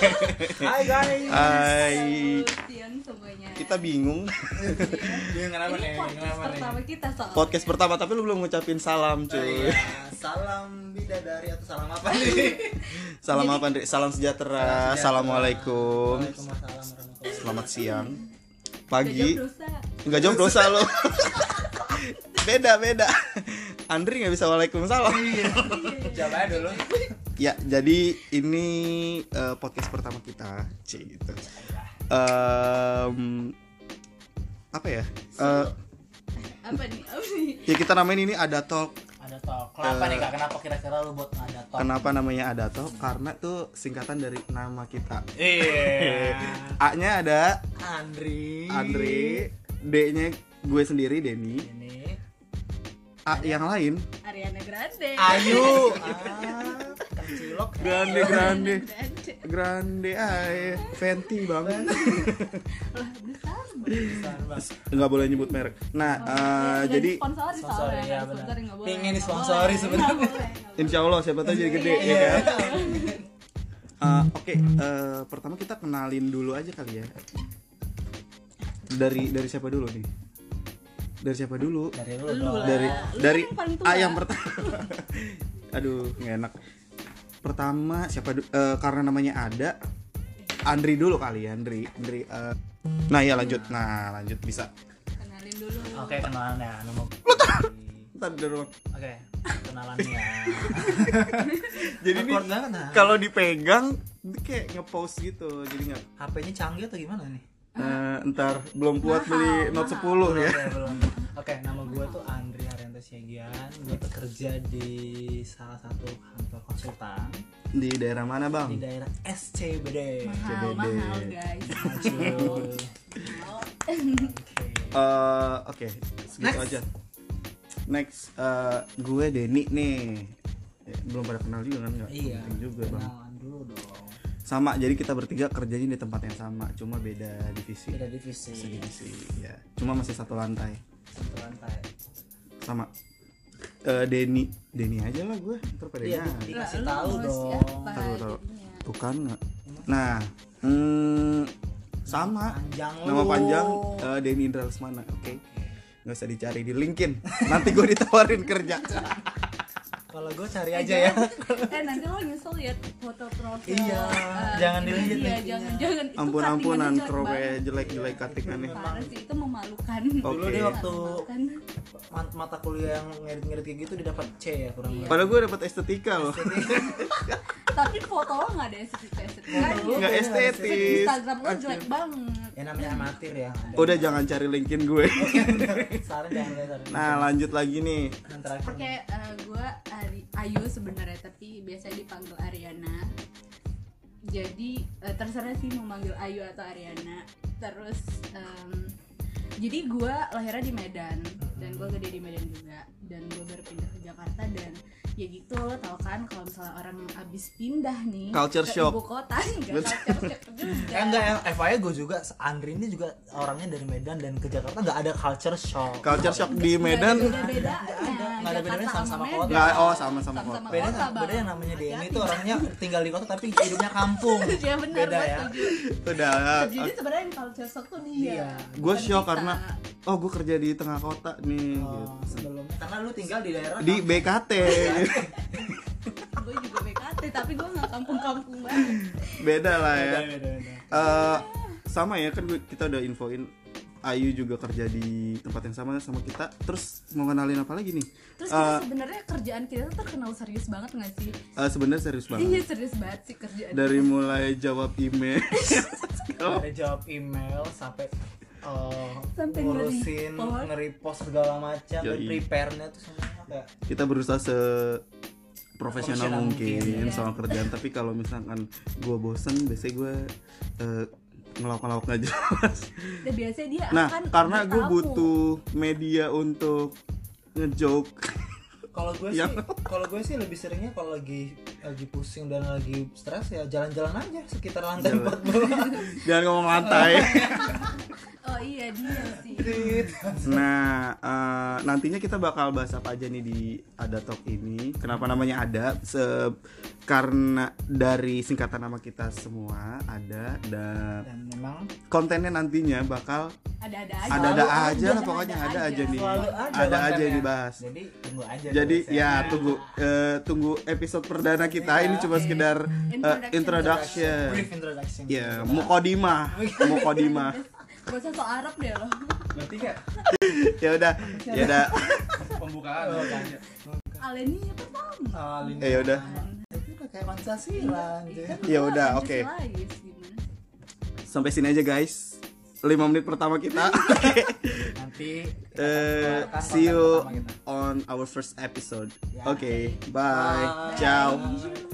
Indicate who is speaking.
Speaker 1: Hai guys.
Speaker 2: Hai.
Speaker 3: siang semuanya.
Speaker 2: Kita bingung.
Speaker 1: Ini kenapa
Speaker 3: Ini
Speaker 1: nih?
Speaker 3: podcast
Speaker 1: Kenapa nih?
Speaker 3: pertama kita soalnya.
Speaker 2: Podcast pertama tapi lu belum ngucapin salam,
Speaker 1: Oh, iya.
Speaker 2: cuy.
Speaker 1: Salam bidadari atau salam apa nih?
Speaker 2: Salam apa, Andre? Salam sejahtera. Assalamualaikum.
Speaker 1: Waalaikumsalam warahmatullahi
Speaker 2: Selamat siang.
Speaker 3: Udah jam
Speaker 2: Pagi.
Speaker 3: dosa.
Speaker 2: Enggak jawab dosa lo. beda, beda. Andri nggak bisa waalaikumsalam.
Speaker 1: wabarakatuh. Jawab aja dulu.
Speaker 2: Ya, jadi ini eh, podcast pertama kita, Cie, gitu. Em, apa ya? Eh,
Speaker 3: Apa nih? Apa nih?
Speaker 2: ya kita namain ini ada talk
Speaker 1: Ada talk. Kenapa nih kak? Kenapa kira-kira lu buat ada talk?
Speaker 2: Kenapa namanya ada toh? Karena tuh singkatan dari nama kita.
Speaker 1: Iya.
Speaker 2: A-nya ada
Speaker 1: Andri.
Speaker 2: Andre, D-nya gue sendiri Denny,
Speaker 1: Ini.
Speaker 2: A yang lain
Speaker 3: Ariana Grande.
Speaker 1: Ayu. Ah, Kecilok.
Speaker 2: Grande Grande
Speaker 3: Ariana Grande.
Speaker 2: Grande ay Fenty banget.
Speaker 3: Lah, udah
Speaker 2: Ah,
Speaker 3: sama.
Speaker 2: Nggak boleh nyebut merek. Nah,
Speaker 1: Oh, iya,
Speaker 2: eh,
Speaker 3: Nggak
Speaker 2: jadi
Speaker 3: disponsori soalnya,
Speaker 1: Sponsori,
Speaker 3: nggak
Speaker 1: ya,
Speaker 3: disponsori,
Speaker 1: benar.
Speaker 3: nggak boleh,
Speaker 1: Pengen
Speaker 3: nggak
Speaker 1: disponsori
Speaker 3: boleh,
Speaker 1: sebenarnya.
Speaker 3: nggak boleh, nggak boleh.
Speaker 2: Insya Allah siapa tahu jadi gede ya
Speaker 1: Iya.
Speaker 2: kan? Eh, Oke, eh, pertama kita kenalin dulu aja kali ya. Dari dari siapa dulu nih? Dari siapa dulu?
Speaker 1: Dari lu
Speaker 3: Lu
Speaker 1: dong.
Speaker 3: lah.
Speaker 2: dari
Speaker 3: Lu kan
Speaker 2: dari
Speaker 3: yang paling tua.
Speaker 2: ah, yang pertama aduh nggak enak pertama siapa du- eh, karena namanya ada Andri dulu kali ya Andri Andri eh. nah ya lanjut nah lanjut bisa
Speaker 3: Kenalin dulu.
Speaker 1: Oke kenalan ya. Nama.
Speaker 2: Ntar di rumah.
Speaker 1: Oke ya. kenalannya.
Speaker 2: jadi ini
Speaker 1: Awkward banget, nah.
Speaker 2: kalau dipegang dia kayak ngepost gitu jadi nggak
Speaker 1: HP-nya canggih atau gimana nih?
Speaker 2: eh, ntar belum kuat
Speaker 3: Mahal,
Speaker 2: beli Note
Speaker 3: nah.
Speaker 2: 10 ya
Speaker 1: Oke, Iya, belum. Oke, nama gue tuh Andri Haryanto Siagian. Gue bekerja di salah satu kantor konsultan
Speaker 2: di daerah mana
Speaker 1: di
Speaker 2: bang
Speaker 1: daerah SCBD.
Speaker 3: Mahal,
Speaker 2: CBD.
Speaker 3: mahal guys.
Speaker 1: Cuy.
Speaker 3: Mahal.
Speaker 1: Oke.
Speaker 2: Eh, oke segitu
Speaker 1: Next.
Speaker 2: aja next eh, gue Denny nih Ya, belum pada kenal juga kan nggak
Speaker 1: Iya.
Speaker 2: penting juga bang
Speaker 1: Kenalan dulu dong.
Speaker 2: sama jadi kita bertiga kerjanya di tempat yang sama cuma beda divisi
Speaker 1: Beda divisi.
Speaker 2: Sedivisi, ya cuma masih satu lantai
Speaker 1: Satu lantai.
Speaker 2: sama eh Denny Denny aja lah gue terus pada
Speaker 1: Iya,
Speaker 2: nyari.
Speaker 1: Denny. Dikasih
Speaker 3: Lah, lu
Speaker 1: tahu
Speaker 3: mau
Speaker 1: dong.
Speaker 3: siapa
Speaker 2: Tahu, tahu.
Speaker 3: jadinya?
Speaker 2: tuh kan nggak nah hmm, sama
Speaker 1: Panjang
Speaker 2: nama
Speaker 1: lu.
Speaker 2: panjang eh, Denny Indra Lesmana oke nggak usah dicari di LinkedIn nanti gue ditawarin kerja
Speaker 1: Kalau gue cari aja ya.
Speaker 3: eh nanti lo nyesel ya foto profil
Speaker 1: Iya,
Speaker 3: eh,
Speaker 1: jangan
Speaker 3: ini
Speaker 1: dilihat
Speaker 3: dia,
Speaker 1: nantinya.
Speaker 3: jangan jangan Itu
Speaker 2: ampun
Speaker 3: cuttingannya
Speaker 2: ampunan
Speaker 3: jelek
Speaker 2: krowe
Speaker 3: banget.
Speaker 2: jelek jelek katingannya
Speaker 3: parah sih itu memalukan
Speaker 2: Oke.
Speaker 1: Dulu deh waktu
Speaker 3: Memalukan.
Speaker 1: mat- mata kuliah yang ngedit-ngedit kayak gitu didapat C ya kurang lebih.
Speaker 2: padahal gue dapet estetika loh
Speaker 3: tapi foto lo nggak ada estetik estetikanya
Speaker 1: Foto lo
Speaker 2: nggak
Speaker 1: Iya,
Speaker 2: estetis
Speaker 3: ya. Instagram lo jelek banget
Speaker 1: Ya namanya amatir ya.
Speaker 2: udah jangan cari LinkedIn gue
Speaker 1: Saran jangan lihat. saran.
Speaker 2: nah lanjut lagi nih
Speaker 1: Yang terakhir.
Speaker 3: Oke, eh, gua Ari- Ayu sebenarnya tapi biasa dipanggil Ariana. Jadi eh, terserah sih mau manggil Ayu atau Ariana. Terus em, jadi gua lahirnya di Medan dan gua gede di Medan juga dan gua baru pindah ke Jakarta dan ya gitu lo tau kan kalau misalnya orang abis pindah nih
Speaker 2: Culture
Speaker 3: ke
Speaker 2: shock.
Speaker 3: ibu kota enggak
Speaker 2: Betul.
Speaker 3: culture shock juga.
Speaker 1: Eh, enggak, yang FYI gue juga, Andri ini juga orangnya dari Medan dan ke Jakarta nggak ada culture shock.
Speaker 2: culture shock di Medan
Speaker 3: beda
Speaker 1: Nggak ada bedanya sama-sama kota.
Speaker 2: nggak oh sama sama kok
Speaker 3: Sama-sama.
Speaker 1: Beda,
Speaker 3: Kota, Bang.
Speaker 1: beda yang namanya Denny itu orangnya tinggal di kota tapi hidupnya kampung.
Speaker 3: Iya benar
Speaker 1: beda ya.
Speaker 2: udah
Speaker 3: Jadi sebenarnya yang culture shock tuh
Speaker 1: Iya.
Speaker 3: dia.
Speaker 2: gue
Speaker 3: Bukan
Speaker 2: eh. shock
Speaker 3: kita.
Speaker 2: karena oh gue kerja di tengah kota nih
Speaker 1: Oh,
Speaker 2: gitu.
Speaker 1: sebelumnya karena lu tinggal di daerah
Speaker 2: di BKT gitu.
Speaker 3: gue juga BKT tapi gue nggak kampung-kampung banget
Speaker 2: beda lah ya
Speaker 1: Beda, beda, beda.
Speaker 2: Eh, sama ya kan gua- kita udah infoin Ayu juga kerja di tempat yang sama sama kita terus mau kenalin apa lagi nih
Speaker 3: terus kita
Speaker 2: Eh
Speaker 3: sebenarnya kerjaan kita tuh terkenal serius banget nggak sih
Speaker 2: eh, sebenarnya serius banget
Speaker 3: iya serius banget sih kerjaan
Speaker 2: dari mulai jawab email
Speaker 1: Ada jawab email sampai eh,
Speaker 3: Sampai
Speaker 1: ngurusin
Speaker 3: nge-report.
Speaker 1: nge-repost segala macam dan
Speaker 2: Yoi.
Speaker 1: prepare-nya tuh semuanya kayak
Speaker 2: kita berusaha se profesional
Speaker 1: Profesional
Speaker 2: mungkin, ya.
Speaker 1: mungkin,
Speaker 2: soal kerjaan tapi kalau misalkan gue bosen biasanya gue eh, ngelawak-ngelawak nggak jelas
Speaker 3: dan biasanya dia
Speaker 2: nah
Speaker 3: akan
Speaker 2: karena gue
Speaker 3: bertamu.
Speaker 2: butuh media untuk ngejoke
Speaker 1: kalau gue
Speaker 2: Iya.
Speaker 1: sih kalau gue sih lebih seringnya kalau lagi lagi pusing dan lagi stres ya jalan-jalan aja sekitar lantai
Speaker 2: Jalan.
Speaker 1: 14
Speaker 2: jangan ngomong lantai
Speaker 3: oh iya dia sih
Speaker 2: Nah, eh, nantinya kita bakal bahas apa aja nih di Ada Talk ini. Kenapa namanya Ada? Se karena dari singkatan nama kita semua, Ada dan
Speaker 1: dan memang
Speaker 2: kontennya nantinya bakal
Speaker 3: ada-ada aja
Speaker 2: ada-ada
Speaker 1: Selalu
Speaker 2: aja lah pokoknya ada aja nih.
Speaker 1: Selalu ada
Speaker 2: Ada aja
Speaker 1: kontennya.
Speaker 2: yang dibahas.
Speaker 1: jadi tunggu aja
Speaker 2: Jadi
Speaker 1: terus
Speaker 2: ya tunggu eh, tunggu episode perdana kita
Speaker 1: Iya,
Speaker 2: ini cuma sekedar eh, introduction.
Speaker 1: brief introduction
Speaker 2: Ya,
Speaker 1: Gitu.
Speaker 2: mukodimah, mukodimah.
Speaker 3: Gak usah sok Arab deh lo
Speaker 4: Berarti nggak?
Speaker 2: Ya udah, ya udah,
Speaker 4: Pembukaan.
Speaker 1: Oh, kan.
Speaker 3: Aleni pertama
Speaker 1: Ah, Linda.
Speaker 2: ya udah.
Speaker 1: Itu udah kayak Pancasila anjir.
Speaker 3: Ikan
Speaker 2: Ya udah,
Speaker 3: lain,
Speaker 2: oke.
Speaker 3: kan lain, gimana?
Speaker 2: sampai sini aja guys 5 menit pertama kita Oke.
Speaker 1: Nanti kita
Speaker 2: Eh,
Speaker 1: akan
Speaker 2: see
Speaker 1: konten
Speaker 2: you
Speaker 1: pertama kita.
Speaker 2: on our first episode
Speaker 1: Ya.
Speaker 2: oke bye
Speaker 1: Bye.
Speaker 2: ciao
Speaker 3: Bye.